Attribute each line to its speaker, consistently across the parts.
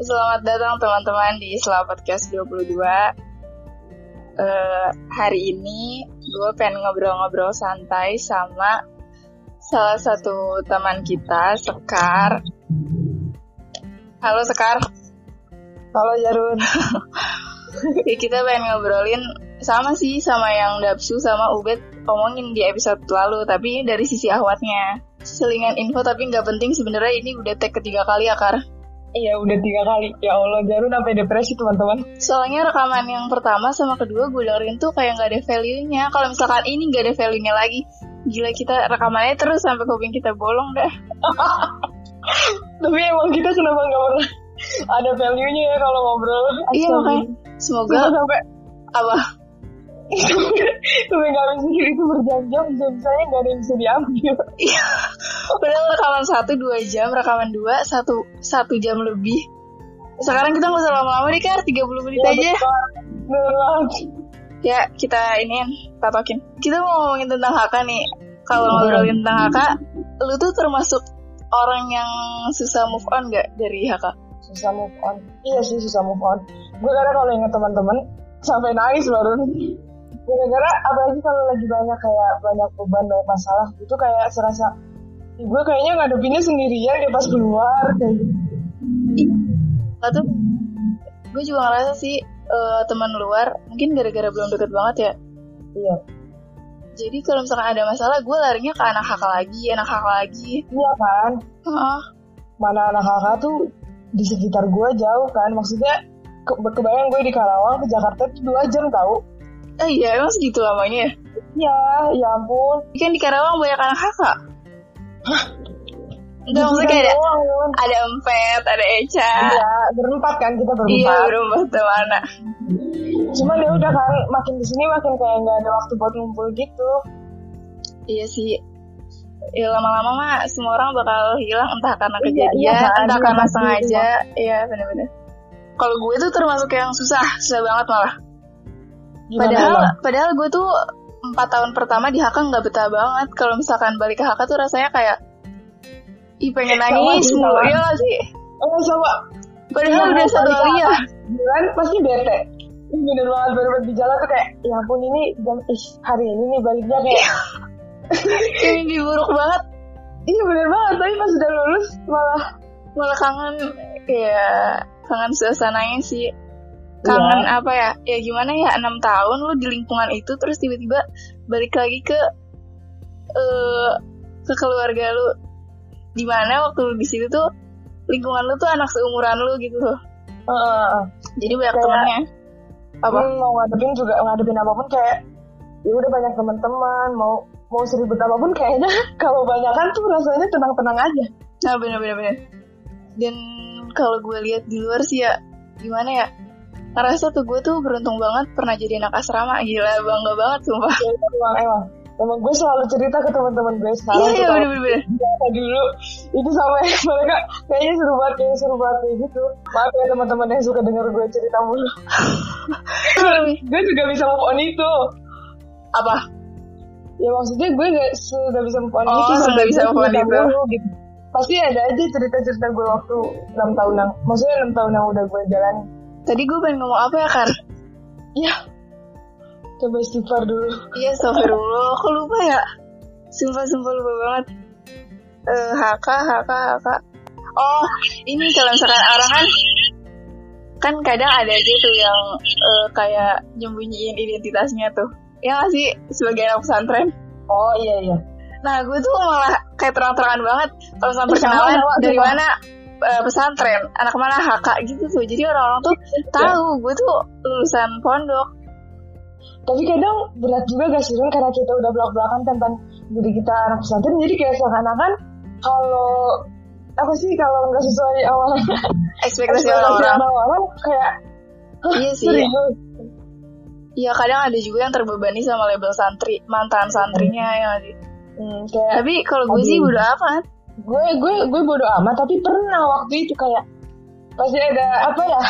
Speaker 1: Selamat datang teman-teman di Islam Podcast 22 Eh, Hari ini gue pengen ngobrol-ngobrol santai sama salah satu teman kita, Sekar Halo Sekar
Speaker 2: Halo Jarun.
Speaker 1: Ya, Kita pengen ngobrolin sama sih sama yang Dapsu sama Ubed omongin di episode lalu Tapi ini dari sisi awatnya Selingan info tapi nggak penting sebenarnya ini udah tag ketiga kali ya Kar
Speaker 2: Iya udah tiga kali. Ya Allah Jarun sampai depresi teman-teman.
Speaker 1: Soalnya rekaman yang pertama sama kedua gue dengerin tuh kayak nggak ada value-nya. Kalau misalkan ini nggak ada value-nya lagi, gila kita rekamannya terus sampai kuping kita bolong dah.
Speaker 2: Tapi emang kita kenapa nggak pernah ada value-nya ya kalau ngobrol.
Speaker 1: Iya,
Speaker 2: Astaga.
Speaker 1: makanya.
Speaker 2: Kita
Speaker 1: Semoga
Speaker 2: sampai
Speaker 1: apa?
Speaker 2: sampai nggak bisa itu berjam-jam jam saya nggak ada yang bisa diambil.
Speaker 1: Padahal Iya. rekaman satu dua jam, rekaman dua satu satu jam lebih. Sekarang kita nggak usah lama-lama deh kan, 30
Speaker 2: Iya,
Speaker 1: menit aja.
Speaker 2: Bener banget.
Speaker 1: Ya kita ini tatokin. Kita mau ngomongin tentang Haka nih. Kalau ngobrolin tentang Haka, lu tuh termasuk orang yang susah move on gak dari Haka?
Speaker 2: Susah move on. Iya sih susah move on. Gue karena kalau inget teman-teman sampai nangis baru. Gara-gara apalagi kalau lagi banyak kayak banyak beban banyak masalah itu kayak serasa "Ih, gue kayaknya ngadepinnya sendirian deh pas keluar kayak gitu.
Speaker 1: Nah tuh gue juga ngerasa sih eh, teman luar mungkin gara-gara belum deket banget ya.
Speaker 2: Iya,
Speaker 1: Jadi kalau misalkan ada masalah gue larinya ke anak kakak lagi, anak kakak lagi.
Speaker 2: iya kan.
Speaker 1: Heeh.
Speaker 2: Mana anak kakak tuh di sekitar gue jauh kan. Maksudnya ke- kebayang gue di Karawang ke Jakarta tuh dua jam tau.
Speaker 1: eh iya emang segitu lamanya ya?
Speaker 2: Iya, ya ampun.
Speaker 1: Kan di Karawang banyak anak kakak. Enggak Iya, maksudnya kayak ada,
Speaker 2: doang, Yun.
Speaker 1: ada Empet, ada Eca.
Speaker 2: Iya, berempat kan kita berempat.
Speaker 1: Iya, berubah kemana?
Speaker 2: Cuman ya udah kan makin di sini makin kayak nggak ada waktu buat ngumpul gitu.
Speaker 1: Iya sih. Ya lama-lama mah semua orang bakal hilang entah karena
Speaker 2: Iya,
Speaker 1: kejadian,
Speaker 2: iya, kan?
Speaker 1: entah
Speaker 2: Iya,
Speaker 1: karena
Speaker 2: pasti.
Speaker 1: sengaja. Iya, bener-bener. Kalau gue tuh termasuk yang susah, susah banget malah.
Speaker 2: Gimana
Speaker 1: Padahal,
Speaker 2: emang?
Speaker 1: padahal gue tuh empat tahun pertama di Haka nggak betah banget. Kalau misalkan balik ke Haka tuh rasanya kayak, ih pengen
Speaker 2: Sama
Speaker 1: nangis
Speaker 2: sih,
Speaker 1: mulu.
Speaker 2: sama.
Speaker 1: Iya nggak sih.
Speaker 2: Eh, coba
Speaker 1: Padahal
Speaker 2: gitu kan? Iya,
Speaker 1: udah satu
Speaker 2: balik ke
Speaker 1: kali ya.
Speaker 2: bulan pasti bete. Ih, Bener banget baru di jalan tuh kayak ya ampun ini jam ih hari ini nih baliknya
Speaker 1: Iya.
Speaker 2: kayak
Speaker 1: Ini buruk banget.
Speaker 2: iya bener banget tapi pas udah lulus malah
Speaker 1: Malah kangen, ya kangen suasananya sih. Kangen apa ya? Ya gimana ya? Enam tahun lu di lingkungan itu terus tiba-tiba balik lagi ke eh ke keluarga lu. Dimana waktu lu di situ tuh lingkungan lu tuh anak seumuran lu gitu loh.
Speaker 2: eh, Heeh.
Speaker 1: Jadi banyak
Speaker 2: Kayak-
Speaker 1: temannya. Apa?
Speaker 2: Hmm, mau ngadepin juga ngadepin apapun kayak ya udah banyak teman-teman mau mau seribut apapun kayaknya kalau banyak kan tuh rasanya tenang-tenang aja
Speaker 1: Nah bener-bener bener. Dan kalau gue lihat di luar sih ya gimana ya? Ngerasa tuh gue tuh beruntung banget pernah jadi anak asrama gila bangga banget sumpah.
Speaker 2: Ya, emang emang emang gue selalu cerita ke teman-teman gue
Speaker 1: Iya
Speaker 2: sekarang tuh
Speaker 1: iya
Speaker 2: kalau
Speaker 1: bener-bener.
Speaker 2: biasa dulu itu sampai mereka kayaknya seru banget kayaknya seru banget kayak gitu maaf ya teman-teman yang suka denger gue cerita mulu gue juga bisa move on itu
Speaker 1: Apa?
Speaker 2: ya maksudnya gue gak sudah bisa move on
Speaker 1: Oh,
Speaker 2: itu sampai
Speaker 1: sudah bisa
Speaker 2: gue
Speaker 1: move on
Speaker 2: cerita
Speaker 1: itu.
Speaker 2: mulu, gitu. pasti ada aja cerita-cerita gue waktu enam tahun yang maksudnya enam tahun yang udah gue jalan
Speaker 1: Tadi gue pengen ngomong apa ya Kar?
Speaker 2: ya coba istighfar dulu
Speaker 1: Iya Astagfirullah Kok lupa ya? Sumpah-sumpah lupa banget Eh, HK, HK, HK Oh ini kalau misalkan orang kan Kan kadang ada aja tuh yang eh, Kayak nyembunyiin identitasnya tuh Ya nggak sih? Sebagai anak pesantren
Speaker 2: oh iya iya
Speaker 1: Nah gue tuh malah kayak terang-terangan banget Kalau misalkan
Speaker 2: Ih, sama,
Speaker 1: perkenalan
Speaker 2: sama,
Speaker 1: dari
Speaker 2: sama.
Speaker 1: mana eh, pesantren Anak mana HK gitu tuh Jadi orang-orang tuh
Speaker 2: Iya.
Speaker 1: tahu gue tuh lulusan pondok
Speaker 2: tapi kadang berat juga gak sih Ren? karena kita udah belak-belakan tentang diri kita anak pesantren jadi kayak seakan-akan kalau apa sih kalau nggak sesuai awalan Oh,
Speaker 1: Ekspektasi
Speaker 2: iya,
Speaker 1: orang-orang
Speaker 2: awalan kayak "Hah,
Speaker 1: Iya sih,
Speaker 2: serius
Speaker 1: Iya kadang ada juga yang terbebani sama label santri mantan santrinya ya. nggak sih?
Speaker 2: Hmm, kayak
Speaker 1: Tapi kalau gue sih
Speaker 2: Aduh.
Speaker 1: udah apa?
Speaker 2: gue gue gue bodoh amat tapi pernah waktu itu kayak pasti ada apa ya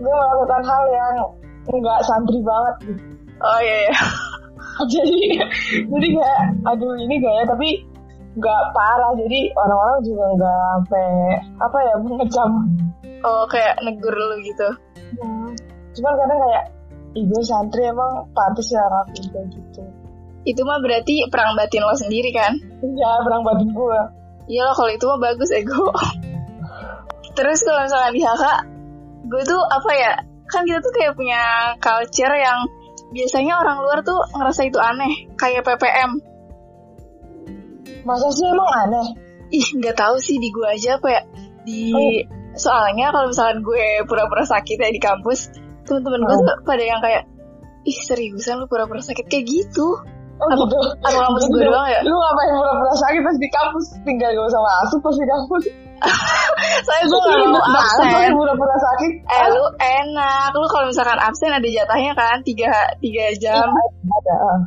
Speaker 2: gue melakukan hal yang nggak santri banget gitu
Speaker 1: Oh iya, iya.
Speaker 2: jadi jadi kayak aduh ini gak ya tapi nggak parah jadi orang-orang juga nggak sampai apa ya mengecam
Speaker 1: oh kayak negur lu gitu
Speaker 2: Hmm. Cuman kadang kayak ibu santri emang pantas ya rapi kayak gitu.
Speaker 1: itu mah berarti perang batin lo sendiri kan
Speaker 2: Iya, perang batin gue.
Speaker 1: Iya loh kalau itu mah bagus ego. Terus kalau misalnya di HK, gue tuh apa ya? Kan kita tuh kayak punya culture yang biasanya orang luar tuh ngerasa itu aneh, kayak PPM.
Speaker 2: Masa sih emang aneh?
Speaker 1: Ih, nggak tahu sih di gue aja apa ya? Di
Speaker 2: Oh.
Speaker 1: soalnya kalau misalnya gue pura-pura sakit ya di kampus, teman-teman
Speaker 2: Oh.
Speaker 1: gue tuh pada yang kayak ih seriusan lu pura-pura sakit kayak gitu.
Speaker 2: Oh
Speaker 1: Apa-
Speaker 2: gitu.
Speaker 1: apa kampus
Speaker 2: Gitu.
Speaker 1: gue doang ya?
Speaker 2: Lu ngapain pura-pura sakit pas di kampus? Tinggal gak usah masuk pas di kampus.
Speaker 1: Soalnya gue Eh, nggak mau
Speaker 2: Ribet banget
Speaker 1: absen.
Speaker 2: lu pura-pura sakit.
Speaker 1: Eh lu enak, lu kalau misalkan absen ada jatahnya kan tiga tiga jam.
Speaker 2: Ada. ah.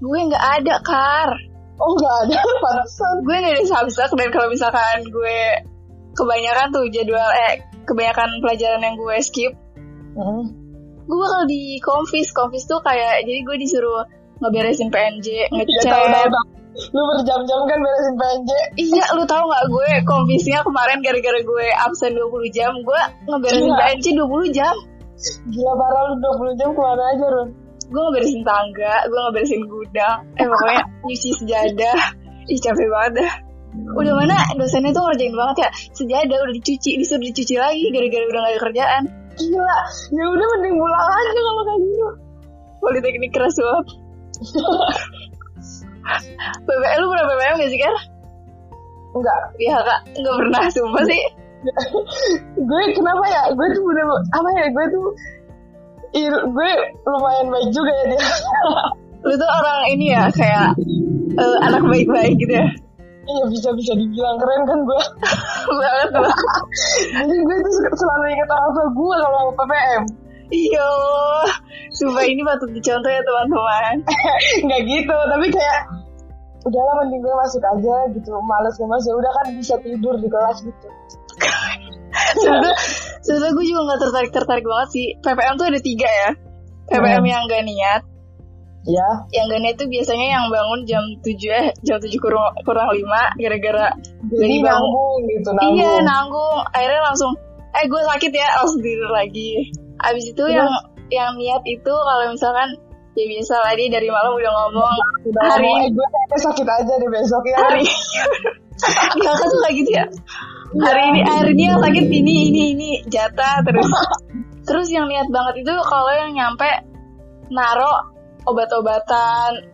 Speaker 1: Gue nggak ada kar,
Speaker 2: Oh gak ada, pantesan.
Speaker 1: gue nggak ada subjek dan kalau misalkan gue kebanyakan tuh jadwal eh kebanyakan pelajaran yang gue skip,
Speaker 2: Hmm.
Speaker 1: gue bakal di konfis konfis tuh kayak jadi gue disuruh ngeberesin PNJ,
Speaker 2: Iya tahu tahu
Speaker 1: ngecek.
Speaker 2: tahu. Lu berjam-jam kan beresin PNJ.
Speaker 1: Iya, lu tahu nggak gue konfisnya kemarin gara-gara gue absen 20 jam, gue ngeberesin
Speaker 2: Gila.
Speaker 1: PNJ 20 jam.
Speaker 2: Gila parah lu 20 jam kemana aja Run?
Speaker 1: gue ngeberesin tangga, gue ngeberesin gudang, eh pokoknya nyuci sejadah. Ih capek banget dah. Udah mana dosennya tuh ngerjain banget ya Sejadah udah dicuci, disuruh dicuci lagi Gara-gara udah gak ada kerjaan
Speaker 2: Gila, ya udah mending pulang aja kalau kayak gitu.
Speaker 1: Politeknik keras banget PPL lu pernah PPL gak sih Kar?
Speaker 2: Enggak,
Speaker 1: Ya kak, gak pernah sumpah sih
Speaker 2: gue kenapa ya? Gue tuh udah apa ya? Gue tuh il- gue lumayan baik juga ya dia.
Speaker 1: Lu tuh orang ini ya kayak eh, anak baik-baik gitu ya
Speaker 2: Iya bisa bisa dibilang keren kan gue.
Speaker 1: Banget lu
Speaker 2: Jadi gue tuh suka- selalu ingat orang tua gue kalau mau PPM.
Speaker 1: Iya Sumpah ini patut dicontoh ya teman-teman
Speaker 2: Enggak gitu, tapi kayak udahlah mending gue masuk aja gitu. Males males ya udah kan bisa tidur di kelas gitu. Iya.
Speaker 1: sebetulnya sebetulnya gue juga nggak tertarik tertarik banget sih PPM tuh ada tiga ya PPM
Speaker 2: Hmm.
Speaker 1: yang gak niat
Speaker 2: Ya,
Speaker 1: yang gak niat tuh biasanya yang bangun jam 7 eh jam 7 kurang, kurang 5 gara-gara
Speaker 2: jadi
Speaker 1: Jadi bang-
Speaker 2: nanggung gitu, nanggung.
Speaker 1: iya nanggung akhirnya langsung eh gue sakit ya langsung tidur lagi abis itu
Speaker 2: Terus?
Speaker 1: yang yang niat itu kalau misalkan ya biasa lah dia dari malam udah ngomong
Speaker 2: Udah
Speaker 1: hari
Speaker 2: ngomong, eh, gue kayaknya sakit aja deh besok ya.
Speaker 1: hari Gak kan suka gitu ya Hari ini hari ini yang sakit ini ini ini jatah terus Terus yang niat banget itu kalau yang nyampe Naro obat-obatan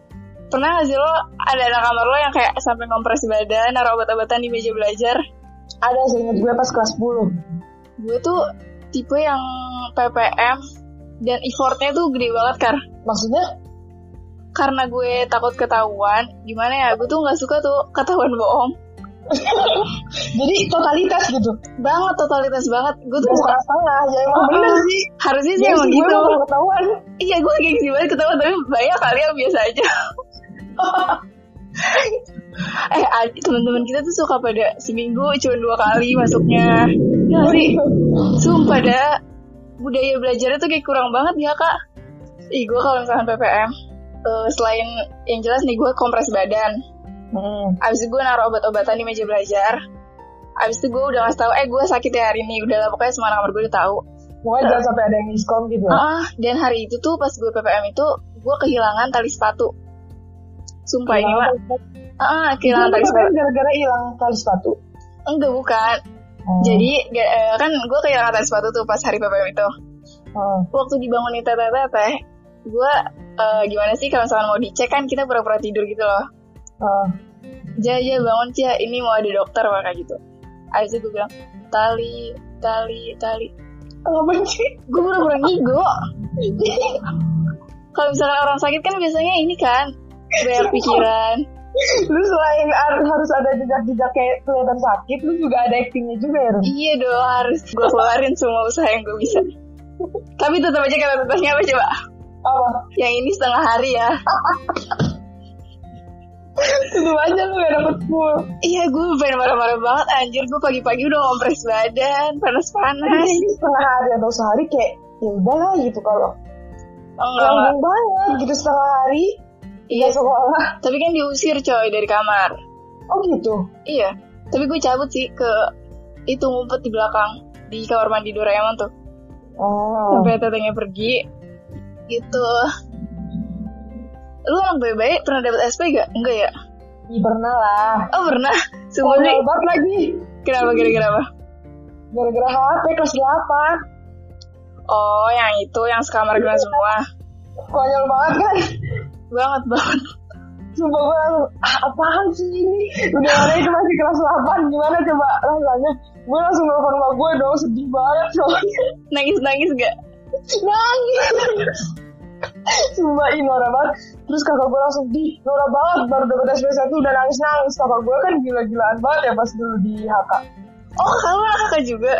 Speaker 1: Pernah gak sih lo ada anak kamar lo yang kayak sampai kompres badan Naro obat-obatan di meja belajar
Speaker 2: Ada seinget gue pas kelas 10.
Speaker 1: Gue tuh tipe yang PPM Dan effortnya tuh gede banget kar
Speaker 2: Maksudnya?
Speaker 1: karena gue takut ketahuan gimana ya gue tuh nggak suka tuh ketahuan bohong
Speaker 2: Jadi totalitas gitu.
Speaker 1: banget totalitas banget gue
Speaker 2: Gak
Speaker 1: tuh suka
Speaker 2: salah-salah, ya emang
Speaker 1: Ah,
Speaker 2: bener sih.
Speaker 1: harusnya sih
Speaker 2: Ya
Speaker 1: emang
Speaker 2: sih, gue
Speaker 1: gitu
Speaker 2: emang ketahuan.
Speaker 1: iya gue gengsi banget ketawa tapi banyak kali yang biasa aja eh ad- teman-teman kita tuh suka pada seminggu cuma dua kali masuknya ya nggak
Speaker 2: gitu.
Speaker 1: sih sumpah dah budaya belajarnya tuh kayak kurang banget ya kak ih gue kalau misalkan PPM eh, selain yang jelas nih gue kompres badan
Speaker 2: Hmm.
Speaker 1: abis itu gue naruh obat-obatan di meja belajar abis itu gue udah ngasih tahu eh gue sakit ya hari ini udah lah pokoknya semua anak kamar gue udah tahu
Speaker 2: Pokoknya
Speaker 1: Iya.
Speaker 2: jangan sampai ada yang miskom gitu.
Speaker 1: Ah, dan hari itu tuh pas gue PPM itu gue kehilangan tali sepatu. Sumpah ini mah. Ah, ah, kehilangan tali iya. sepatu.
Speaker 2: Kan gara-gara hilang tali sepatu.
Speaker 1: Enggak bukan.
Speaker 2: Hmm.
Speaker 1: Jadi ga- eh, kan gue kehilangan tali sepatu tuh pas hari PPM itu.
Speaker 2: Hmm.
Speaker 1: Waktu dibangunin teteh-teteh, gue eh, gimana sih kalau misalkan mau dicek kan kita pura-pura tidur gitu loh.
Speaker 2: Hmm.
Speaker 1: Jaja bangun Cia, ini mau ada dokter maka gitu. Abis itu gue bilang, tali, tali, tali.
Speaker 2: Ngapain sih?
Speaker 1: Gue pura-pura ngigo. Kalau misalkan orang sakit kan biasanya ini kan, banyak pikiran.
Speaker 2: lu selain ar- harus ada jejak-jejak kayak kelihatan sakit, lu juga ada actingnya juga ya, Run?
Speaker 1: Iya dong harus gue keluarin semua usaha yang gue bisa. Tapi tetap aja kata tetapnya apa coba?
Speaker 2: Apa?
Speaker 1: Yang ini setengah hari ya.
Speaker 2: Itu aja lu gak dapet full.
Speaker 1: Iya gue pengen marah-marah banget anjir gue pagi-pagi udah ngompres badan
Speaker 2: Tapi
Speaker 1: panas-panas.
Speaker 2: kayaknya setengah hari atau sehari kayak ya udahlah gitu kalau
Speaker 1: Oh, Enggak. enggak.
Speaker 2: Lambung banget gitu setengah hari
Speaker 1: Iya.
Speaker 2: Iya sekolah
Speaker 1: Tapi kan diusir coy dari kamar.
Speaker 2: Oh gitu
Speaker 1: Iya. Tapi gue cabut sih ke itu ngumpet di belakang. di kamar mandi Doraemon tuh
Speaker 2: Oh.
Speaker 1: sampai tetenya pergi gitu lu anak baik-baik pernah dapat SP gak? enggak ya?
Speaker 2: Ih, pernah lah.
Speaker 1: oh pernah
Speaker 2: Sumpah
Speaker 1: semuanya
Speaker 2: banget lagi.
Speaker 1: kenapa gara-gara apa?
Speaker 2: Gara-gara HP kelas 8.
Speaker 1: oh yang itu yang sekamar dengan semua
Speaker 2: Konyol banget kan?
Speaker 1: banget banget
Speaker 2: Sumpah gue langsung, ah, apaan sih ini? Udah mana itu masih kelas 8, gimana coba rasanya? Gue langsung nelfon sama gue dong, sedih banget soalnya.
Speaker 1: nangis-nangis gak?
Speaker 2: Nangis. Sumpah ih Nora banget Terus kakak gue langsung di Nora banget Baru dapet SP1 udah nangis-nangis Kakak gue kan gila-gilaan banget ya pas dulu di HK
Speaker 1: oh kamu anak kakak juga?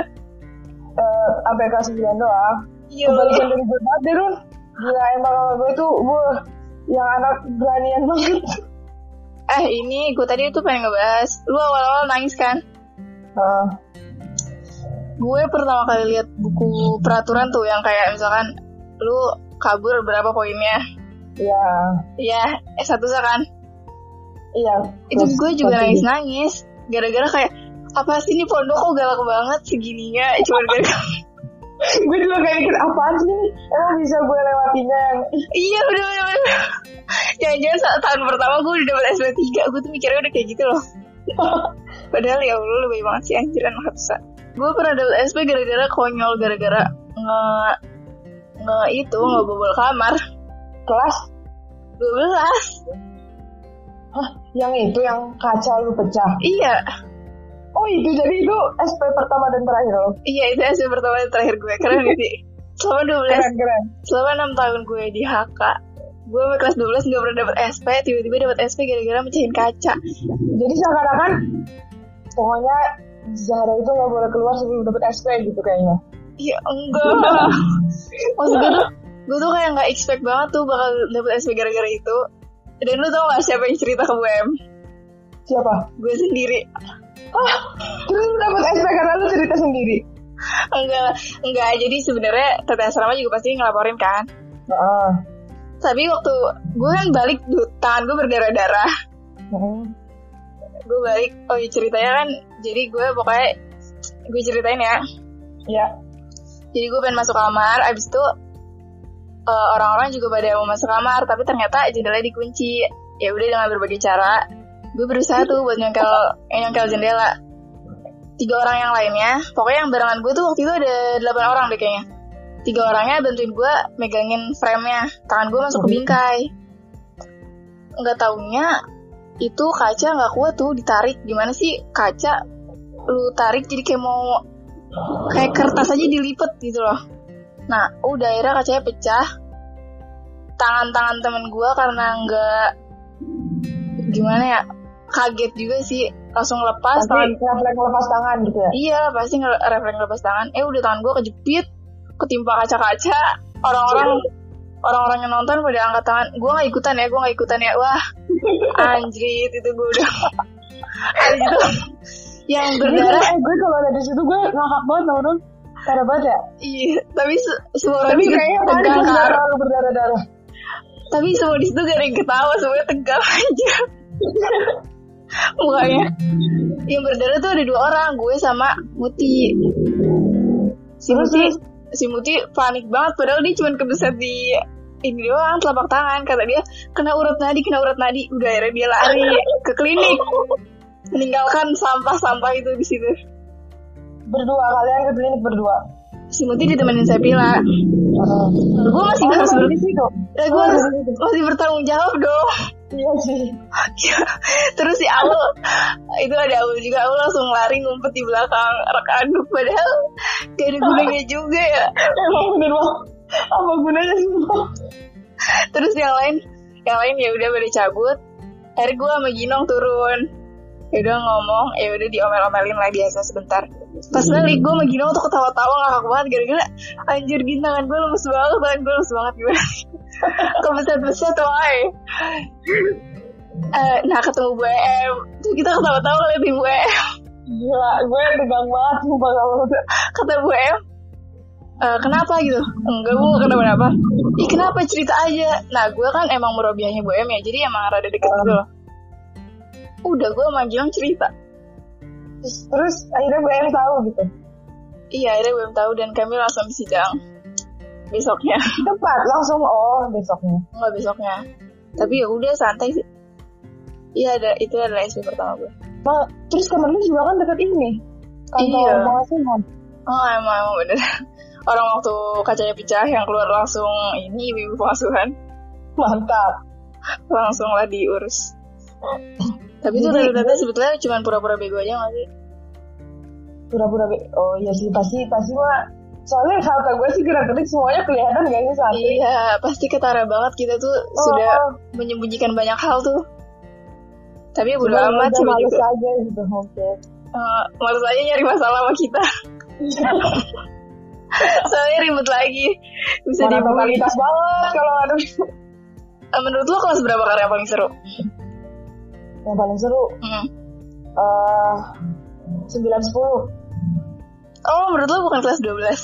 Speaker 2: Eh, Sampai kelas 9 doang
Speaker 1: iya
Speaker 2: Kebalikan dari gue banget deh Run Gila emang kakak gue tuh Gue yang anak beranian banget
Speaker 1: eh ini gue tadi tuh pengen ngebahas lu awal-awal nangis kan?
Speaker 2: Heeh.
Speaker 1: gue pertama kali lihat buku peraturan tuh yang kayak misalkan lu kabur berapa poinnya
Speaker 2: Iya
Speaker 1: ya eh satu kan
Speaker 2: Iya
Speaker 1: itu
Speaker 2: Terus-
Speaker 1: gue juga nangis
Speaker 2: terus
Speaker 1: nangis gara-gara kayak apa sih ini pondok kok galak banget segininya cuma gara
Speaker 2: Gue juga kayak mikir apaan sih ini? Emang bisa gue lewatinya yang Ih,
Speaker 1: iya udah udah udah jangan-jangan saat tahun pertama gue udah dapet SP3 gue tuh mikirnya udah kayak gitu loh padahal ya Allah lebih banget sih anjiran maksa gue pernah dapet SP gara-gara konyol gara-gara nge nge itu ngebobol kamar
Speaker 2: Kelas
Speaker 1: 12
Speaker 2: Hah yang itu yang kaca lu pecah
Speaker 1: iya
Speaker 2: Oh itu jadi itu SP pertama dan terakhir lo
Speaker 1: Iya itu SP pertama dan terakhir gue Keren gak sih Selama 12
Speaker 2: Keren keren
Speaker 1: Selama 6 tahun gue di HK Gue sampai kelas 12 gak pernah dapet SP Tiba-tiba dapet SP gara-gara mecahin kaca
Speaker 2: Jadi seakan-akan Pokoknya Zahra itu nggak boleh keluar sebelum dapet SP gitu kayaknya
Speaker 1: Ya enggak Maksud gue tuh Gue tuh kayak gak expect banget tuh Bakal dapet SP gara-gara itu Dan lu tau gak siapa yang cerita ke WM
Speaker 2: Siapa?
Speaker 1: Gue sendiri
Speaker 2: Ah, terus lu dapet SP karena lu cerita sendiri
Speaker 1: Enggak Enggak Jadi sebenarnya Teteh Asrama juga pasti ngelaporin kan
Speaker 2: Heeh.
Speaker 1: Tapi waktu Gue kan balik du- Tangan gue berdarah-darah
Speaker 2: Heeh.
Speaker 1: gue balik oh iya ceritanya kan jadi gue pokoknya gue ceritain ya
Speaker 2: Ya
Speaker 1: jadi gue pengen masuk kamar abis itu eh, orang-orang juga pada mau masuk kamar tapi ternyata jendelanya dikunci ya udah dengan berbagai cara gue berusaha tuh buat nyongkel eh, nyongkel jendela tiga orang yang lainnya pokoknya yang barengan gue tuh waktu itu ada delapan orang deh kayaknya tiga orangnya bantuin gue megangin frame-nya tangan gue masuk ke bingkai nggak taunya itu kaca nggak kuat tuh ditarik gimana sih kaca lu tarik jadi kayak mau kayak kertas aja dilipet gitu loh nah udah akhirnya kacanya pecah tangan-tangan temen gue karena nggak gimana ya kaget juga sih langsung lepas tangan
Speaker 2: Tapi refleks lepas tangan gitu ya
Speaker 1: Iya pasti nge- refleks lepas tangan. Eh udah tangan gue kejepit, ketimpa kaca-kaca. Orang-orang
Speaker 2: Iya.
Speaker 1: orang-orang yang nonton pada angkat tangan. Gue nggak ikutan ya, gue nggak ikutan ya. Wah anjrit itu gue udah. Habis itu yang
Speaker 2: Jadi
Speaker 1: berdarah.
Speaker 2: eh, gue kalau ada di situ gue ngakak banget tau dong Karena banget ya
Speaker 1: Iya, tapi se- semua orang
Speaker 2: Tapi
Speaker 1: juga
Speaker 2: kayaknya tadi
Speaker 1: tegang
Speaker 2: gue nggak
Speaker 1: kan.
Speaker 2: terlalu berdarah-darah
Speaker 1: Tapi semua di situ gak ada yang ketawa, semuanya tegang aja. Mukanya. Yang berdarah tuh ada dua orang, gue sama Muti. Si
Speaker 2: Terus,
Speaker 1: Muti,
Speaker 2: terus?
Speaker 1: si Muti panik banget, padahal dia cuma kebeset di ini doang telapak tangan kata dia kena urat nadi kena urat nadi udah akhirnya dia lari ke klinik meninggalkan sampah-sampah itu di situ
Speaker 2: Berdua kalian ke klinik berdua
Speaker 1: si Muti ditemenin Sepila
Speaker 2: Heeh.
Speaker 1: gue Nah, masih
Speaker 2: Oh,
Speaker 1: harus
Speaker 2: lu
Speaker 1: ber-
Speaker 2: ada di situ
Speaker 1: eh, gue harus masih bertanggung jawab dong
Speaker 2: Iya sih
Speaker 1: Ya, terus si Aul itu ada Aul juga Aul langsung lari ngumpet di belakang rekan padahal gak ada gunanya juga ya
Speaker 2: Emang bener banget Apa gunanya sih Bang?
Speaker 1: terus yang lain yang lain ya udah pada cabut akhirnya gue sama Ginong turun ya udah ngomong ya udah diomel-omelin lah biasa sebentar pas balik gue sama Ginong tuh ketawa-tawa ngakak banget gara-gara anjir gini tangan gue lemes banget tangan gue lemes banget gimana kebeset-beset woy Eh, nah ketemu Bu Em Terus kita ketawa-tawa ngeliatin Bu Em
Speaker 2: Gila, gue tegang banget sumpah kalau udah
Speaker 1: kata Bu Em "Eh, kenapa gitu enggak bu nggak kenapa-napa ih kenapa cerita aja nah gue kan emang merobiahnya Bu Em ya jadi emang rada deket gitu loh udah gue sama Gilang cerita
Speaker 2: Terus, terus akhirnya gue yang tahu gitu.
Speaker 1: Iya, akhirnya belum tahu dan kami langsung sidang besoknya.
Speaker 2: Tepat, langsung oh besoknya.
Speaker 1: Enggak besoknya. Tapi ya udah santai sih. Iya, ada itu adalah SP pertama gue.
Speaker 2: Ma, terus kamar lu juga kan deket ini. Kantor
Speaker 1: Iya.
Speaker 2: pengasuhan.
Speaker 1: Oh, emang, emang bener. Orang waktu kacanya pecah yang keluar langsung ini ibu pengasuhan
Speaker 2: Mantap.
Speaker 1: langsunglah diurus. Tapi itu
Speaker 2: Jadi-
Speaker 1: rada-rada sebetulnya cuma pura-pura bego aja nggak sih?
Speaker 2: Pura-pura be- Oh iya sih pasti pasti mah. Soalnya kata gue sih gerak gerik semuanya kelihatan gak sih saat ini?
Speaker 1: Iya, pasti ketara banget kita tuh
Speaker 2: Oh,
Speaker 1: sudah
Speaker 2: oh,
Speaker 1: menyembunyikan banyak hal tuh. Tapi ya bodo
Speaker 2: cuman
Speaker 1: amat
Speaker 2: udah
Speaker 1: sih
Speaker 2: males
Speaker 1: juga.
Speaker 2: aja gitu. Oke.
Speaker 1: Eh, males aja nyari masalah sama kita. Soalnya ribet lagi. Bisa
Speaker 2: Jadi
Speaker 1: dibully.
Speaker 2: totalitas banget kalau ada
Speaker 1: Eh, menurut lo kelas berapa karya paling seru?
Speaker 2: yang paling seru
Speaker 1: Hmm.
Speaker 2: eh 9 10
Speaker 1: Oh, menurut lo bukan kelas 12.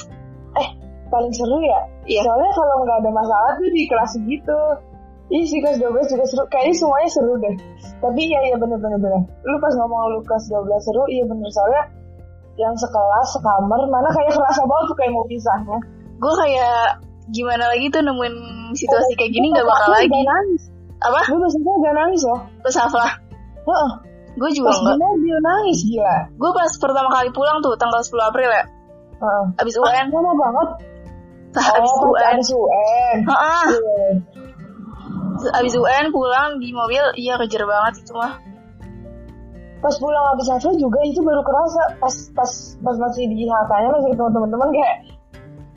Speaker 2: paling seru ya
Speaker 1: Iya.
Speaker 2: soalnya kalau nggak ada masalah tuh di kelas gitu Iya sih kelas 12 juga seru Kayaknya semuanya seru deh Tapi iya iya bener bener bener Lu pas ngomong lu kelas 12 seru Iya bener soalnya Yang sekelas sekamar Mana kayak kerasa banget tuh kayak mau pisahnya
Speaker 1: Gue kayak gimana lagi tuh nemuin situasi kayak gini nggak bakal lagi.
Speaker 2: Gak nangis
Speaker 1: Apa?
Speaker 2: Lu biasanya gak nangis loh
Speaker 1: Terus apa?
Speaker 2: Heeh.
Speaker 1: Gue juga
Speaker 2: Pas di
Speaker 1: enggak.
Speaker 2: mobil nangis gila
Speaker 1: Gue pas pertama kali pulang tuh tanggal 10 April ya.
Speaker 2: Heeh.
Speaker 1: Abis UN.
Speaker 2: Lama banget
Speaker 1: Tah, abis
Speaker 2: Oh pas
Speaker 1: UN.
Speaker 2: abis UN
Speaker 1: Heeh.
Speaker 2: Iya.
Speaker 1: Abis UN pulang di mobil, iya kejer banget itu mah.
Speaker 2: pas pulang habis Hafla juga itu baru kerasa pas pas pas masih di HK-nya masih ketemu teman-teman kayak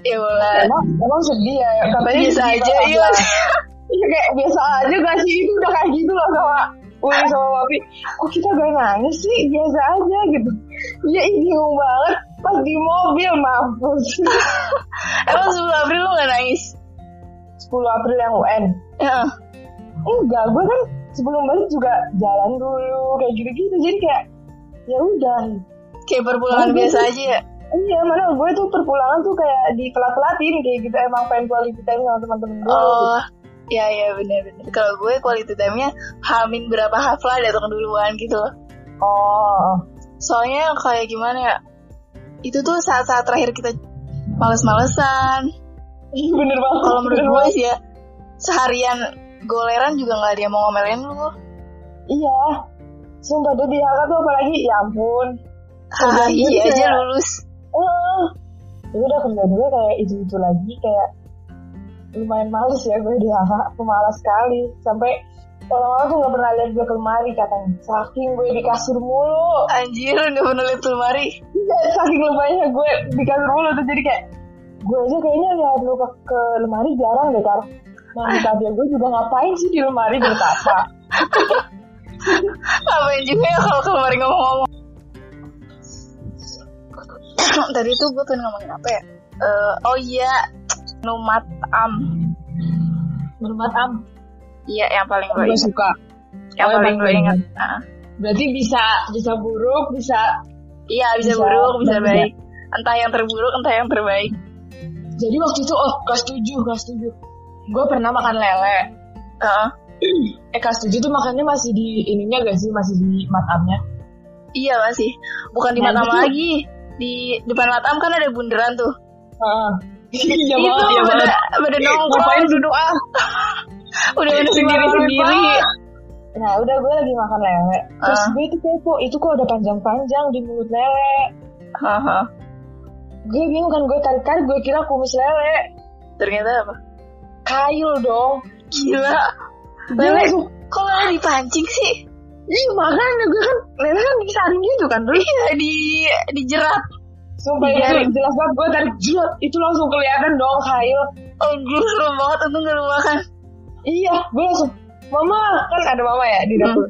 Speaker 1: Ya boleh.
Speaker 2: emang emang sedih ya katanya
Speaker 1: Biasa
Speaker 2: sedih
Speaker 1: aja,
Speaker 2: banget
Speaker 1: iya.
Speaker 2: lah. Iya, kayak biasa aja gak sih itu udah kayak gitu loh sama Uli sama Papi kok kita gak nangis sih biasa aja gitu iya ih, bingung banget pas di mobil mampus
Speaker 1: Emang 10 April lo gak nangis?
Speaker 2: 10 April yang UN
Speaker 1: Heeh.
Speaker 2: enggak gue kan sebelum balik juga jalan dulu kayak gitu-gitu jadi kayak ya udah
Speaker 1: Kayak perpulangan
Speaker 2: Oh,
Speaker 1: biasa
Speaker 2: gitu.
Speaker 1: aja ya.
Speaker 2: Iya, mana gue tuh perpulangan tuh kayak di pelat-pelatin kayak gitu emang pengen quality time sama teman-teman gue.
Speaker 1: Oh, ya ya benar-benar. Kalau gue quality time-nya hamin berapa hafla datang duluan gitu. loh.
Speaker 2: gitu. Oh,
Speaker 1: Soalnya kayak gimana ya? Itu tuh saat-saat terakhir kita males-malesan.
Speaker 2: Ih, bener banget.
Speaker 1: Kalau menurut
Speaker 2: bener
Speaker 1: gue
Speaker 2: banget.
Speaker 1: sih ya seharian goleran juga nggak ada yang mau ngomelin lu.
Speaker 2: iya. Sumpah deh di HK tuh apalagi, ya ampun.
Speaker 1: Ah,
Speaker 2: Kerjaan gue
Speaker 1: iya
Speaker 2: tuh
Speaker 1: aja
Speaker 2: kayak-
Speaker 1: lulus.
Speaker 2: Eh, itu udah kerjaan gue kayak itu-itu lagi kayak lumayan males ya gue di HK, pemalas sekali sampai orang-orang tuh gak pernah lihat gue ke lemari katanya saking gue di kasur mulu
Speaker 1: Anjir, nggak pernah lihat lemari.
Speaker 2: Iya, saking lemahnya gue di kasur mulu tuh jadi kayak gue aja kayaknya lihat lu ke, ke lemari jarang deh kar. Nah, di tabia gue juga ngapain sih di lemari bertapa?
Speaker 1: Ngapain juga ya kalau ke lemari ngomong-ngomong. Tadi tuh gue pengen ngomongin apa ya? Eh, oh iya, numat am.
Speaker 2: Bermat am,
Speaker 1: Iya yang paling gue
Speaker 2: gue
Speaker 1: ingat.
Speaker 2: suka.
Speaker 1: Yang
Speaker 2: Oh, yang
Speaker 1: paling gue
Speaker 2: paling
Speaker 1: ingat. Ah.
Speaker 2: Berarti bisa bisa buruk, bisa
Speaker 1: Iya bisa,
Speaker 2: Bisa,
Speaker 1: buruk bisa
Speaker 2: bisa.
Speaker 1: baik. Entah yang terburuk entah yang terbaik.
Speaker 2: jadi waktu itu oh kelas 7, kelas 7. Gue pernah makan lele.
Speaker 1: Kan, Heeh.
Speaker 2: Eh kelas 7 tuh makannya masih di ininya gak sih? Masih di matamnya.
Speaker 1: Iya masih. Bukan di
Speaker 2: Nah,
Speaker 1: Matam
Speaker 2: itu-
Speaker 1: lagi. Di depan Matam kan ada bundaran tuh.
Speaker 2: Heeh. Iya
Speaker 1: itu
Speaker 2: banget, iya
Speaker 1: pada
Speaker 2: banget.
Speaker 1: pada nongkrong.
Speaker 2: Ngapain Iya, duduk ah?
Speaker 1: Udah pada sendiri sendiri.
Speaker 2: Nah udah gue lagi makan lele Terus
Speaker 1: Ah.
Speaker 2: gue itu kepo Itu kok udah panjang-panjang di mulut lele
Speaker 1: Haha.
Speaker 2: Gue bingung kan gue tarik-tarik Gue kira kumis lele
Speaker 1: Ternyata apa?
Speaker 2: Kayu dong
Speaker 1: Gila.
Speaker 2: Gue
Speaker 1: Lele.
Speaker 2: langsung
Speaker 1: Kok lele dipancing sih?
Speaker 2: Ih makanya gue kan Lele kan disaring gitu kan terus
Speaker 1: Iya di dijerat.
Speaker 2: Sumpah
Speaker 1: Iya.
Speaker 2: itu jelas banget Gue tarik jelas Itu langsung kelihatan dong kayu
Speaker 1: Anjir Oh, serem banget untung gak lu makan.
Speaker 2: Iya Gue langsung Mama Kan ada mama ya di
Speaker 1: Hmm.
Speaker 2: dapur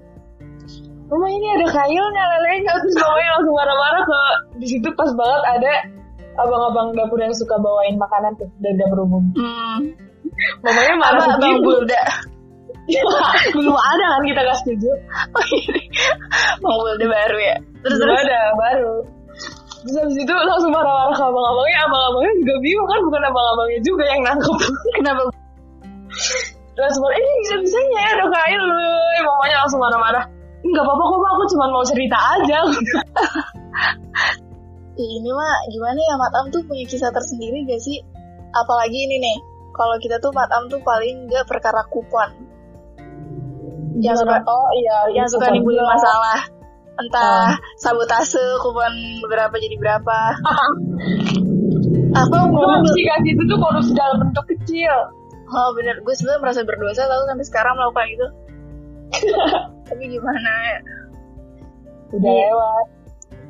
Speaker 2: Mama ini ada kayunya lelenya Terus mamanya langsung marah-marah ke di situ pas banget ada Abang-abang dapur yang suka bawain makanan tuh dari dapur umum.
Speaker 1: Hmm.
Speaker 2: Mamanya marah
Speaker 1: Apa
Speaker 2: ke
Speaker 1: abang
Speaker 2: ibu.
Speaker 1: Bulda?
Speaker 2: belum ada kan kita kelas setuju
Speaker 1: Oh, iya. Bang Bulda baru ya. Terus
Speaker 2: belum
Speaker 1: terus.
Speaker 2: ada baru terus habis itu langsung marah-marah ke abang-abangnya abang-abangnya juga bingung kan bukan abang-abangnya juga yang nangkep
Speaker 1: Kenapa
Speaker 2: langsung marah ini bisa-bisanya ya dong kain lu mamanya langsung marah-marah nggak apa-apa kok Ma, aku cuma mau cerita aja
Speaker 1: Ya, ini mah gimana ya Matam tuh punya kisah tersendiri gak sih? Apalagi ini nih, kalau kita tuh Matam tuh paling gak perkara kupon. Yang suka,
Speaker 2: oh iya Ah.
Speaker 1: yang
Speaker 2: itu
Speaker 1: suka
Speaker 2: kan.
Speaker 1: nimbulin masalah. Entah sabotase, kupon berapa jadi berapa. Aku ngomong
Speaker 2: korupsi kan itu tuh korupsi dalam bentuk kecil
Speaker 1: Oh bener, gue sebenarnya merasa berdosa tau sampai sekarang melakukan itu. Tapi gimana ya?
Speaker 2: udah
Speaker 1: Iya.
Speaker 2: lewat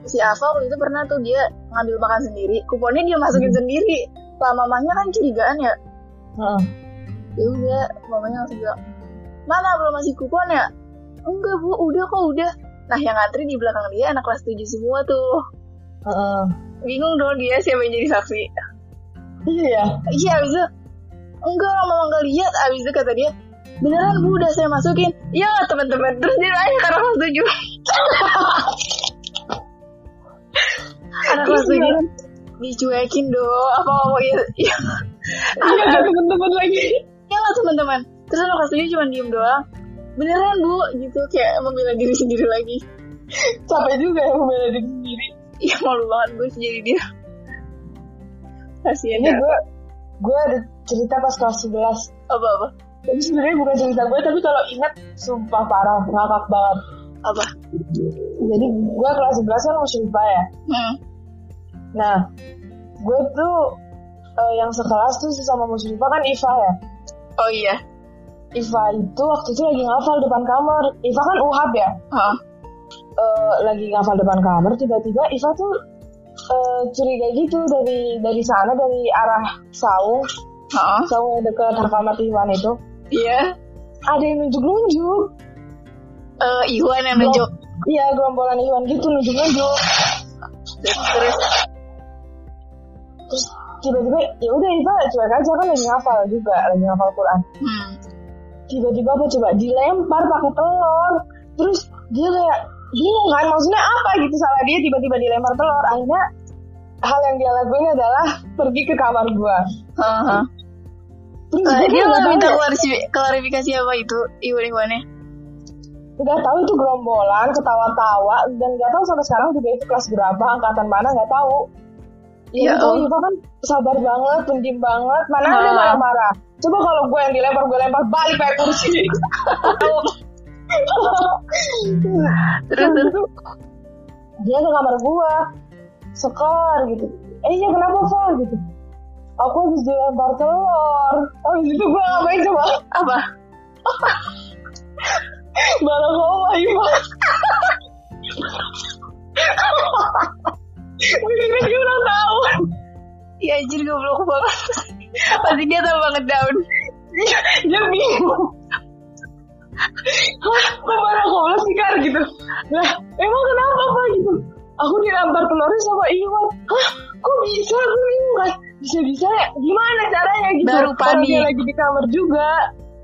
Speaker 1: Si Ava waktu itu pernah tuh dia ngambil makan sendiri, kuponnya dia masukin sendiri. Lah mamanya kan curigaan ya,
Speaker 2: Heeh.
Speaker 1: ya udah mamanya langsung bilang, mana belum masih kupon ya? Enggak bu, udah kok udah. Nah yang ngantri di belakang dia anak kelas 7 semua tuh.
Speaker 2: Heeh.
Speaker 1: Bingung dong dia siapa yang jadi saksi.
Speaker 2: iya
Speaker 1: Iya abis itu Enggak lah mama nggak lihat Abis itu kata dia Beneran bu udah saya masukin Ya teman-teman Terus dia nanya karena kelas tujuh Anak kelas tujuh
Speaker 2: Iya.
Speaker 1: Dicuekin dong Apa ngomong ya Ya
Speaker 2: iya ada teman-teman lagi
Speaker 1: ya lah teman-teman Terus anak kelas tujuh cuma diem doang Beneran bu Gitu kayak membela diri sendiri lagi
Speaker 2: capek juga ya membela diri sendiri
Speaker 1: Ya malu banget gue sih jadi dia Kasian
Speaker 2: ini
Speaker 1: ya
Speaker 2: gue gue ada cerita pas kelas 11
Speaker 1: Apa-apa
Speaker 2: tapi sebenarnya bukan cerita gue tapi kalau ingat sumpah parah ngakak banget
Speaker 1: Apa
Speaker 2: jadi gue kelas 11 kan musyrifah ya
Speaker 1: Hmm
Speaker 2: nah gue tuh eh, yang sekelas tuh sama musyrifah kan Iva ya
Speaker 1: Oh iya
Speaker 2: Iva itu waktu itu lagi ngafal depan kamar Iva kan UHAB ya
Speaker 1: Heeh.
Speaker 2: Eh, lagi ngafal depan kamar tiba-tiba Iva tuh eh, curiga gitu dari dari sana dari arah saung
Speaker 1: Heeh.
Speaker 2: saung yang dekat Hakamat Iwan itu
Speaker 1: Iya
Speaker 2: ada yang nunjuk-nunjuk
Speaker 1: Eh, Iwan yang nunjuk
Speaker 2: Iya gerombolan Iwan gitu nunjuk-nunjuk
Speaker 1: terus
Speaker 2: terus tiba-tiba ya udah Iva cuek aja kan lagi ngafal juga lagi ngafal Quran
Speaker 1: hmm,
Speaker 2: tiba-tiba apa coba dilempar pakai telur terus dia kayak bingung kan maksudnya apa gitu salah dia tiba-tiba dilempar telur akhirnya hal yang dia lakuin adalah pergi ke kamar gua
Speaker 1: Heeh.
Speaker 2: terus
Speaker 1: Eh, dia
Speaker 2: gua kan
Speaker 1: nggak
Speaker 2: nggak
Speaker 1: minta
Speaker 2: tahu ya,
Speaker 1: klarifikasi, klarifikasi apa itu Iwan Iwannya
Speaker 2: udah tahu itu gerombolan ketawa-tawa dan nggak tahu sampai sekarang juga itu kelas berapa angkatan mana nggak tahu
Speaker 1: Ya
Speaker 2: Iya,
Speaker 1: Allah.
Speaker 2: tahu Iva kan sabar banget, pendiam banget, mana ada
Speaker 1: Ah.
Speaker 2: marah-marah. Coba kalau gue yang dilempar, gue lempar balik kayak kursi.
Speaker 1: terus
Speaker 2: Terus
Speaker 1: terus
Speaker 2: itu dia ke kamar gua sekor gitu eh iya kenapa Val gitu aku habis dilempar telur habis itu gua ngapain coba
Speaker 1: apa
Speaker 2: barang bawa Iva Mikirnya dia ulang tahun
Speaker 1: ya anjir goblok banget pasti dia tambah banget down
Speaker 2: Dia- Dia bingung Hah, kok barang bawa sikar gitu Lah, emang kenapa Pak gitu Aku dilempar telurnya sama Iwan Hah, kok bisa? Aku bingung kan Bisa-bisa gimana caranya gitu
Speaker 1: Baru
Speaker 2: Padahal dia
Speaker 1: panik.
Speaker 2: lagi di kamar juga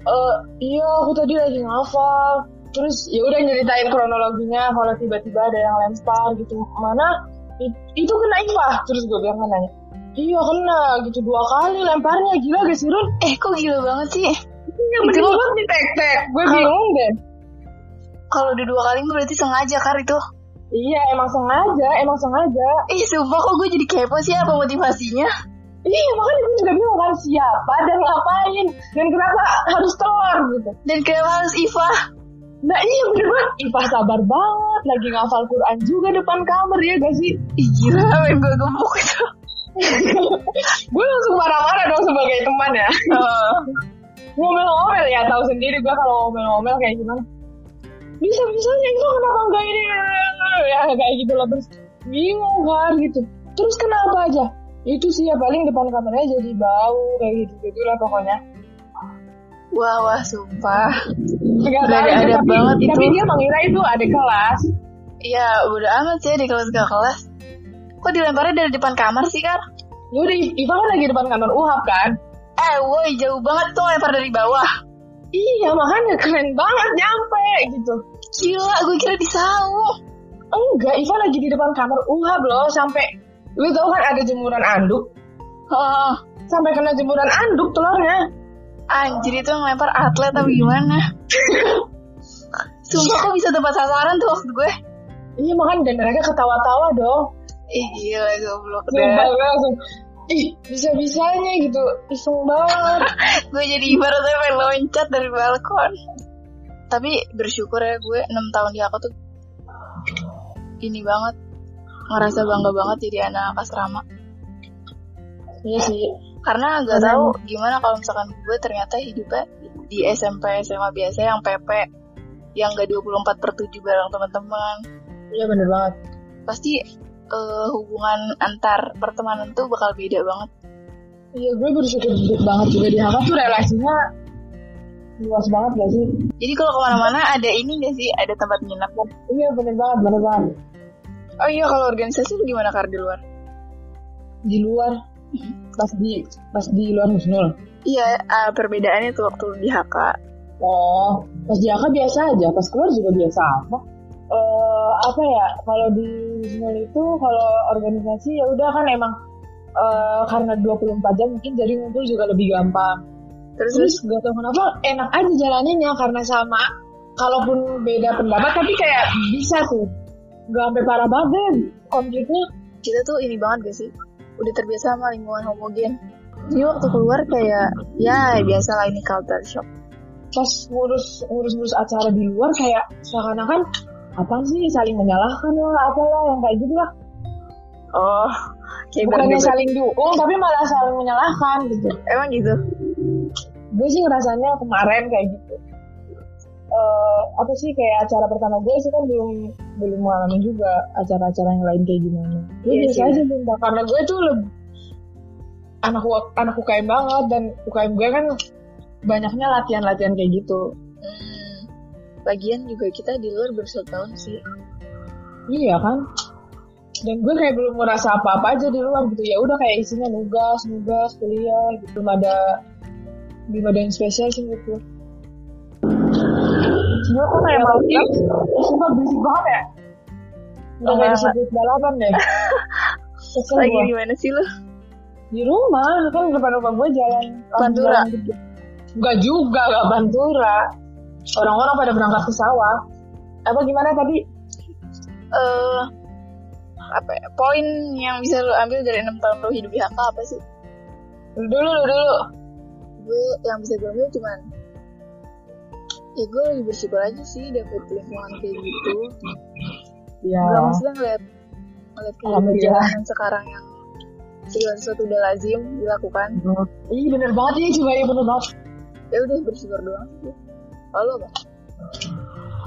Speaker 2: Eh, Iya, aku tadi lagi ngafal Terus ya udah nyeritain kronologinya kalau tiba-tiba ada yang lempar gitu mana i- itu kena Iva terus gue bilang kan nanya iya kena gitu dua kali lemparnya gila Iya, gak sih Run
Speaker 1: eh kok gila banget sih
Speaker 2: yang
Speaker 1: Itu-
Speaker 2: mending di tek-tek Gue
Speaker 1: Kalau-
Speaker 2: bingung deh
Speaker 1: kalau udah dua kali itu berarti sengaja kar itu
Speaker 2: Iya emang sengaja Emang sengaja
Speaker 1: ih sumpah kok gue jadi kepo sih apa motivasinya
Speaker 2: Iya makanya gue juga bingung kan Siapa dan ngapain Dan kenapa harus telur gitu
Speaker 1: dan kenapa harus Iva
Speaker 2: Nah iya bener banget Ipah sabar banget Lagi ngafal Quran juga depan kamar ya gak sih
Speaker 1: Ih, gila main gue gemuk itu
Speaker 2: Gue langsung marah-marah dong sebagai teman ya
Speaker 1: Heeh.
Speaker 2: Ngomel-ngomel ya tahu sendiri gue kalau ngomel-ngomel kayak gimana Bisa-bisanya itu kenapa enggak ini Ya kayak gitu loh Terus bingung kan gitu Terus kenapa aja itu sih ya paling depan kamarnya jadi bau kayak gitu gitu lah pokoknya
Speaker 1: wah wah sumpah
Speaker 2: Gak
Speaker 1: Gak ada- ada banget itu.
Speaker 2: Tapi dia mengira itu ada kelas.
Speaker 1: Iya, udah amat sih di kelas gak kelas. Kok dilemparnya dari depan kamar sih, Kar?
Speaker 2: Ya udah, Iva kan lagi depan kantor UHAP kan.
Speaker 1: Eh, woi, jauh banget tuh lempar dari bawah.
Speaker 2: Iya, makanya keren banget nyampe gitu.
Speaker 1: Gila, gue kira di saung.
Speaker 2: Enggak, Iva lagi di depan kamar UHAP loh sampai lu tau kan ada jemuran anduk.
Speaker 1: Oh,
Speaker 2: Sampai kena jemuran anduk telurnya.
Speaker 1: anjir itu yang lempar atlet apa gimana? Sumpah kok bisa tepat sasaran tuh waktu gue.
Speaker 2: Iya makanya dan mereka ketawa-tawa dong.
Speaker 1: Ih gila goblok
Speaker 2: Sumpah
Speaker 1: deh.
Speaker 2: gue langsung Ih bisa-bisanya gitu Iseng banget
Speaker 1: gue jadi ibaratnya pengen loncat dari balkon. Tapi bersyukur ya gue 6 tahun di aku tuh ini banget ngerasa bangga banget jadi anak asrama
Speaker 2: Iya sih
Speaker 1: karena nggak
Speaker 2: Karena-
Speaker 1: tahu gimana kalau misalkan gue ternyata hidupnya di SMP SMA biasa yang PP yang gak 24 per 7 bareng teman-teman
Speaker 2: Iya bener banget
Speaker 1: pasti eh, hubungan antar pertemanan tuh bakal beda banget
Speaker 2: Iya gue bersyukur banget juga di Haka tuh relasinya Luas banget gak sih
Speaker 1: jadi kalau kemana-mana ada ini gak sih ada tempat nginep kan?
Speaker 2: Iya bener banget bener banget
Speaker 1: oh iya kalau organisasi lu gimana kar di luar
Speaker 2: Di luar Pas di pas di luar Husnul
Speaker 1: iya eh, perbedaannya tuh waktu lu di HK
Speaker 2: Oh, pas di Haka biasa aja, pas keluar juga biasa apa? Eh, apa ya? Kalau di Husnul itu kalau organisasi ya udah kan emang eh, karena 24 jam mungkin jadi ngumpul juga lebih gampang.
Speaker 1: terus terus
Speaker 2: Terus gak tau kenapa enak aja jalannya karena sama. Kalaupun beda pendapat tapi kayak bisa tuh. Gak sampai parah banget konfliknya.
Speaker 1: kita tuh ini banget gak sih udah terbiasa sama lingkungan homogen jadi waktu keluar kayak ya biasa lah ini culture shock
Speaker 2: Pas ngurus ngurus ngurus acara di luar kayak seakan-akan apa sih saling menyalahkan lah apalah yang kayak gitu lah.
Speaker 1: oh kayak
Speaker 2: bukannya
Speaker 1: berdebat.
Speaker 2: saling dukung tapi malah saling menyalahkan gitu
Speaker 1: Emang gitu?
Speaker 2: gue sih ngerasanya kemarin kayak gitu Eh, apa sih kayak acara pertama gue sih kan belum belum mengalami juga acara-acara yang lain kayak gimana gue
Speaker 1: Iya
Speaker 2: biasa
Speaker 1: sih.
Speaker 2: aja sumpah. karena gue tuh lebih anak U- anak UKM banget dan UKM gue kan banyaknya latihan-latihan kayak gitu
Speaker 1: Hmm. Lagian juga kita di luar baru satu tahun sih.
Speaker 2: iya kan dan gue kayak belum ngerasa apa-apa aja di luar gitu ya udah kayak isinya nugas nugas kuliah gitu belum ada belum ada yang spesial sih gitu gue kok kayak mau ih sumpah berisik banget ya udah kayak
Speaker 1: Lama-lama.
Speaker 2: disebut balapan deh Kesel
Speaker 1: Lagi
Speaker 2: gue.
Speaker 1: di mana sih lu?
Speaker 2: Di rumah, kan depan rumah gue jalan
Speaker 1: Pantura.
Speaker 2: jalan gitu. Enggak juga, enggak Pantura Orang-orang pada berangkat ke sawah Apa gimana tadi?
Speaker 1: Eh apa ya, poin yang bisa lu ambil dari enam tahun lu hidup di HK apa sih?
Speaker 2: Dulu, dulu, dulu
Speaker 1: Gue yang bisa gue ambil cuman ya gue lagi bersyukur aja sih dapet lingkungan kayak gitu.
Speaker 2: Iya
Speaker 1: Gak maksudnya ngeliat ngeliat
Speaker 2: Alhamdulillah.
Speaker 1: kehidupan yang sekarang yang segala sesuatu udah lazim dilakukan.
Speaker 2: Iya bener banget ya juga ya bener banget.
Speaker 1: Ya udah bersyukur doang sih. Lalu apa?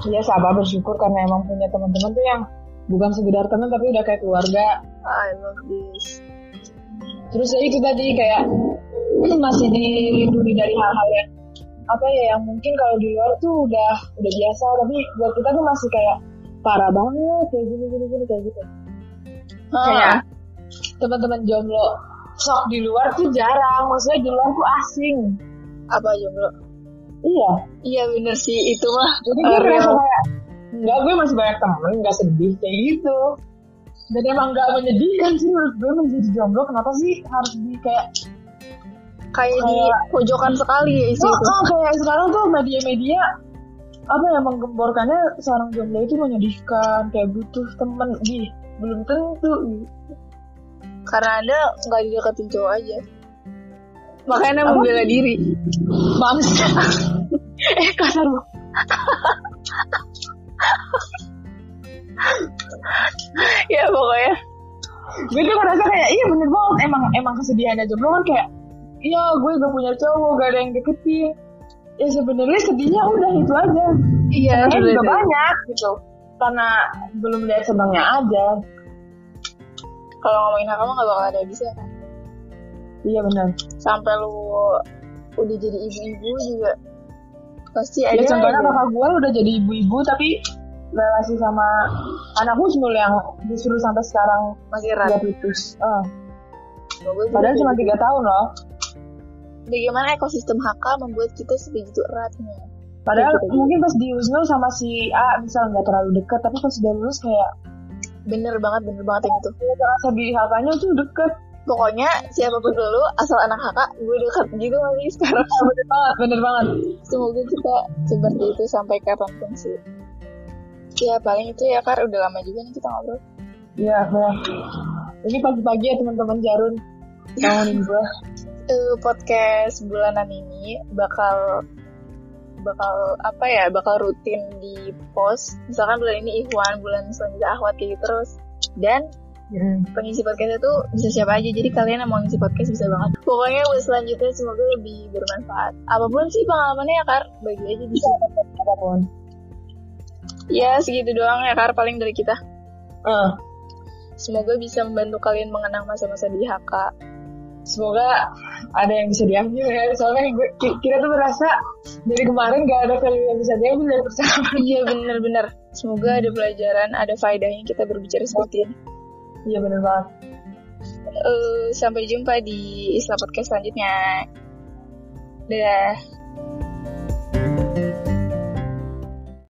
Speaker 2: Iya sabar bersyukur karena emang punya teman-teman tuh yang bukan sekedar teman tapi udah kayak keluarga.
Speaker 1: Ah, I love this.
Speaker 2: Terus ya itu tadi kayak masih dilindungi dari hal-hal yang apa ya yang mungkin kalau di luar tuh udah udah biasa tapi buat kita tuh masih kayak parah banget kayak gini gini gini kayak gitu.
Speaker 1: Ah.
Speaker 2: Kayak ya? teman-teman jomblo sok di luar tuh jarang maksudnya di luar tuh asing.
Speaker 1: apa jomblo?
Speaker 2: Iya.
Speaker 1: Iya bener sih itu mah.
Speaker 2: Jadi gue
Speaker 1: Eh,
Speaker 2: merasa
Speaker 1: real.
Speaker 2: kayak Enggak, gue masih banyak temen, enggak sedih kayak gitu Dan emang enggak menyedihkan sih menurut gue menjadi jomblo Kenapa sih harus di kayak
Speaker 1: kayak di
Speaker 2: Kayak-
Speaker 1: pojokan sekali ya isi
Speaker 2: oh,
Speaker 1: itu.
Speaker 2: oh, kayak sekarang tuh media-media Apa ya, menggemborkannya seorang jomblo itu menyedihkan Kayak butuh temen, ih belum tentu ih.
Speaker 1: Karena anda nggak dideketin cowok aja. Makanya anda
Speaker 2: Apa?
Speaker 1: membela diri.
Speaker 2: Bangsa Eh kasar banget
Speaker 1: ya pokoknya.
Speaker 2: gue tuh ngerasa kayak iya bener banget emang emang kesedihan aja gue kan kayak iya gue gak punya cowok gak ada yang deketin ya sebenarnya sedihnya udah itu aja
Speaker 1: Iya.
Speaker 2: Sebenarnya
Speaker 1: bener.
Speaker 2: juga banyak gitu karena belum lihat senangnya aja
Speaker 1: Kalau ngomongin hak kamu nggak bakal ada bisa.
Speaker 2: iya benar
Speaker 1: Sampai lu udah jadi ibu-ibu juga pasti
Speaker 2: ya
Speaker 1: ada.
Speaker 2: contohnya
Speaker 1: aja.
Speaker 2: kakak gue udah jadi ibu-ibu tapi relasi sama anak Husnul yang disuruh sampai sekarang
Speaker 1: masih
Speaker 2: udah
Speaker 1: erat.
Speaker 2: putus Eh,
Speaker 1: Gue juga
Speaker 2: padahal
Speaker 1: kayak
Speaker 2: cuma
Speaker 1: gitu.
Speaker 2: tiga tahun loh
Speaker 1: Bagaimana ekosistem HK membuat kita sebegitu eratnya?
Speaker 2: padahal
Speaker 1: Iya, gitu.
Speaker 2: mungkin pas di Husnul sama si A misal nggak terlalu dekat tapi pas udah lulus kayak
Speaker 1: Bener banget, bener banget yang itu.
Speaker 2: terasa di hk tuh deket
Speaker 1: Pokoknya siapapun lu, asal anak kakak, gue dekat gitu masih sekarang.
Speaker 2: bener banget bener banget
Speaker 1: semoga kita seperti itu sampai kapanpun sih ya paling itu ya kar udah lama juga nih kita ngobrol
Speaker 2: iya bener Ini pagi-pagi ya teman-teman Jarun. Bangunin gue.
Speaker 1: Eh, podcast bulanan ini bakal bakal apa ya bakal rutin di post misalkan bulan ini Ikhwan bulan selanjutnya Ahwat kayak gitu terus dan
Speaker 2: Iya,
Speaker 1: pengisi podcast itu bisa siapa aja jadi kalian yang mau ngisi podcast bisa banget pokoknya buat selanjutnya semoga lebih bermanfaat apapun sih pengalamannya ya Kar bagi aja bisa
Speaker 2: Apapun.
Speaker 1: ya segitu doang ya Kar paling dari kita
Speaker 2: Eh,
Speaker 1: semoga bisa membantu kalian mengenang masa-masa di HK
Speaker 2: semoga ada yang bisa diambil ya. Soalnya gue- ki- kita tuh merasa dari kemarin gak ada value yang bisa diambil dari persamaan.
Speaker 1: iya bener-bener semoga ada pelajaran ada faedahnya kita berbicara seperti ini
Speaker 2: Iya bener banget.
Speaker 1: Eh, sampai jumpa di Isla Podcast selanjutnya dadah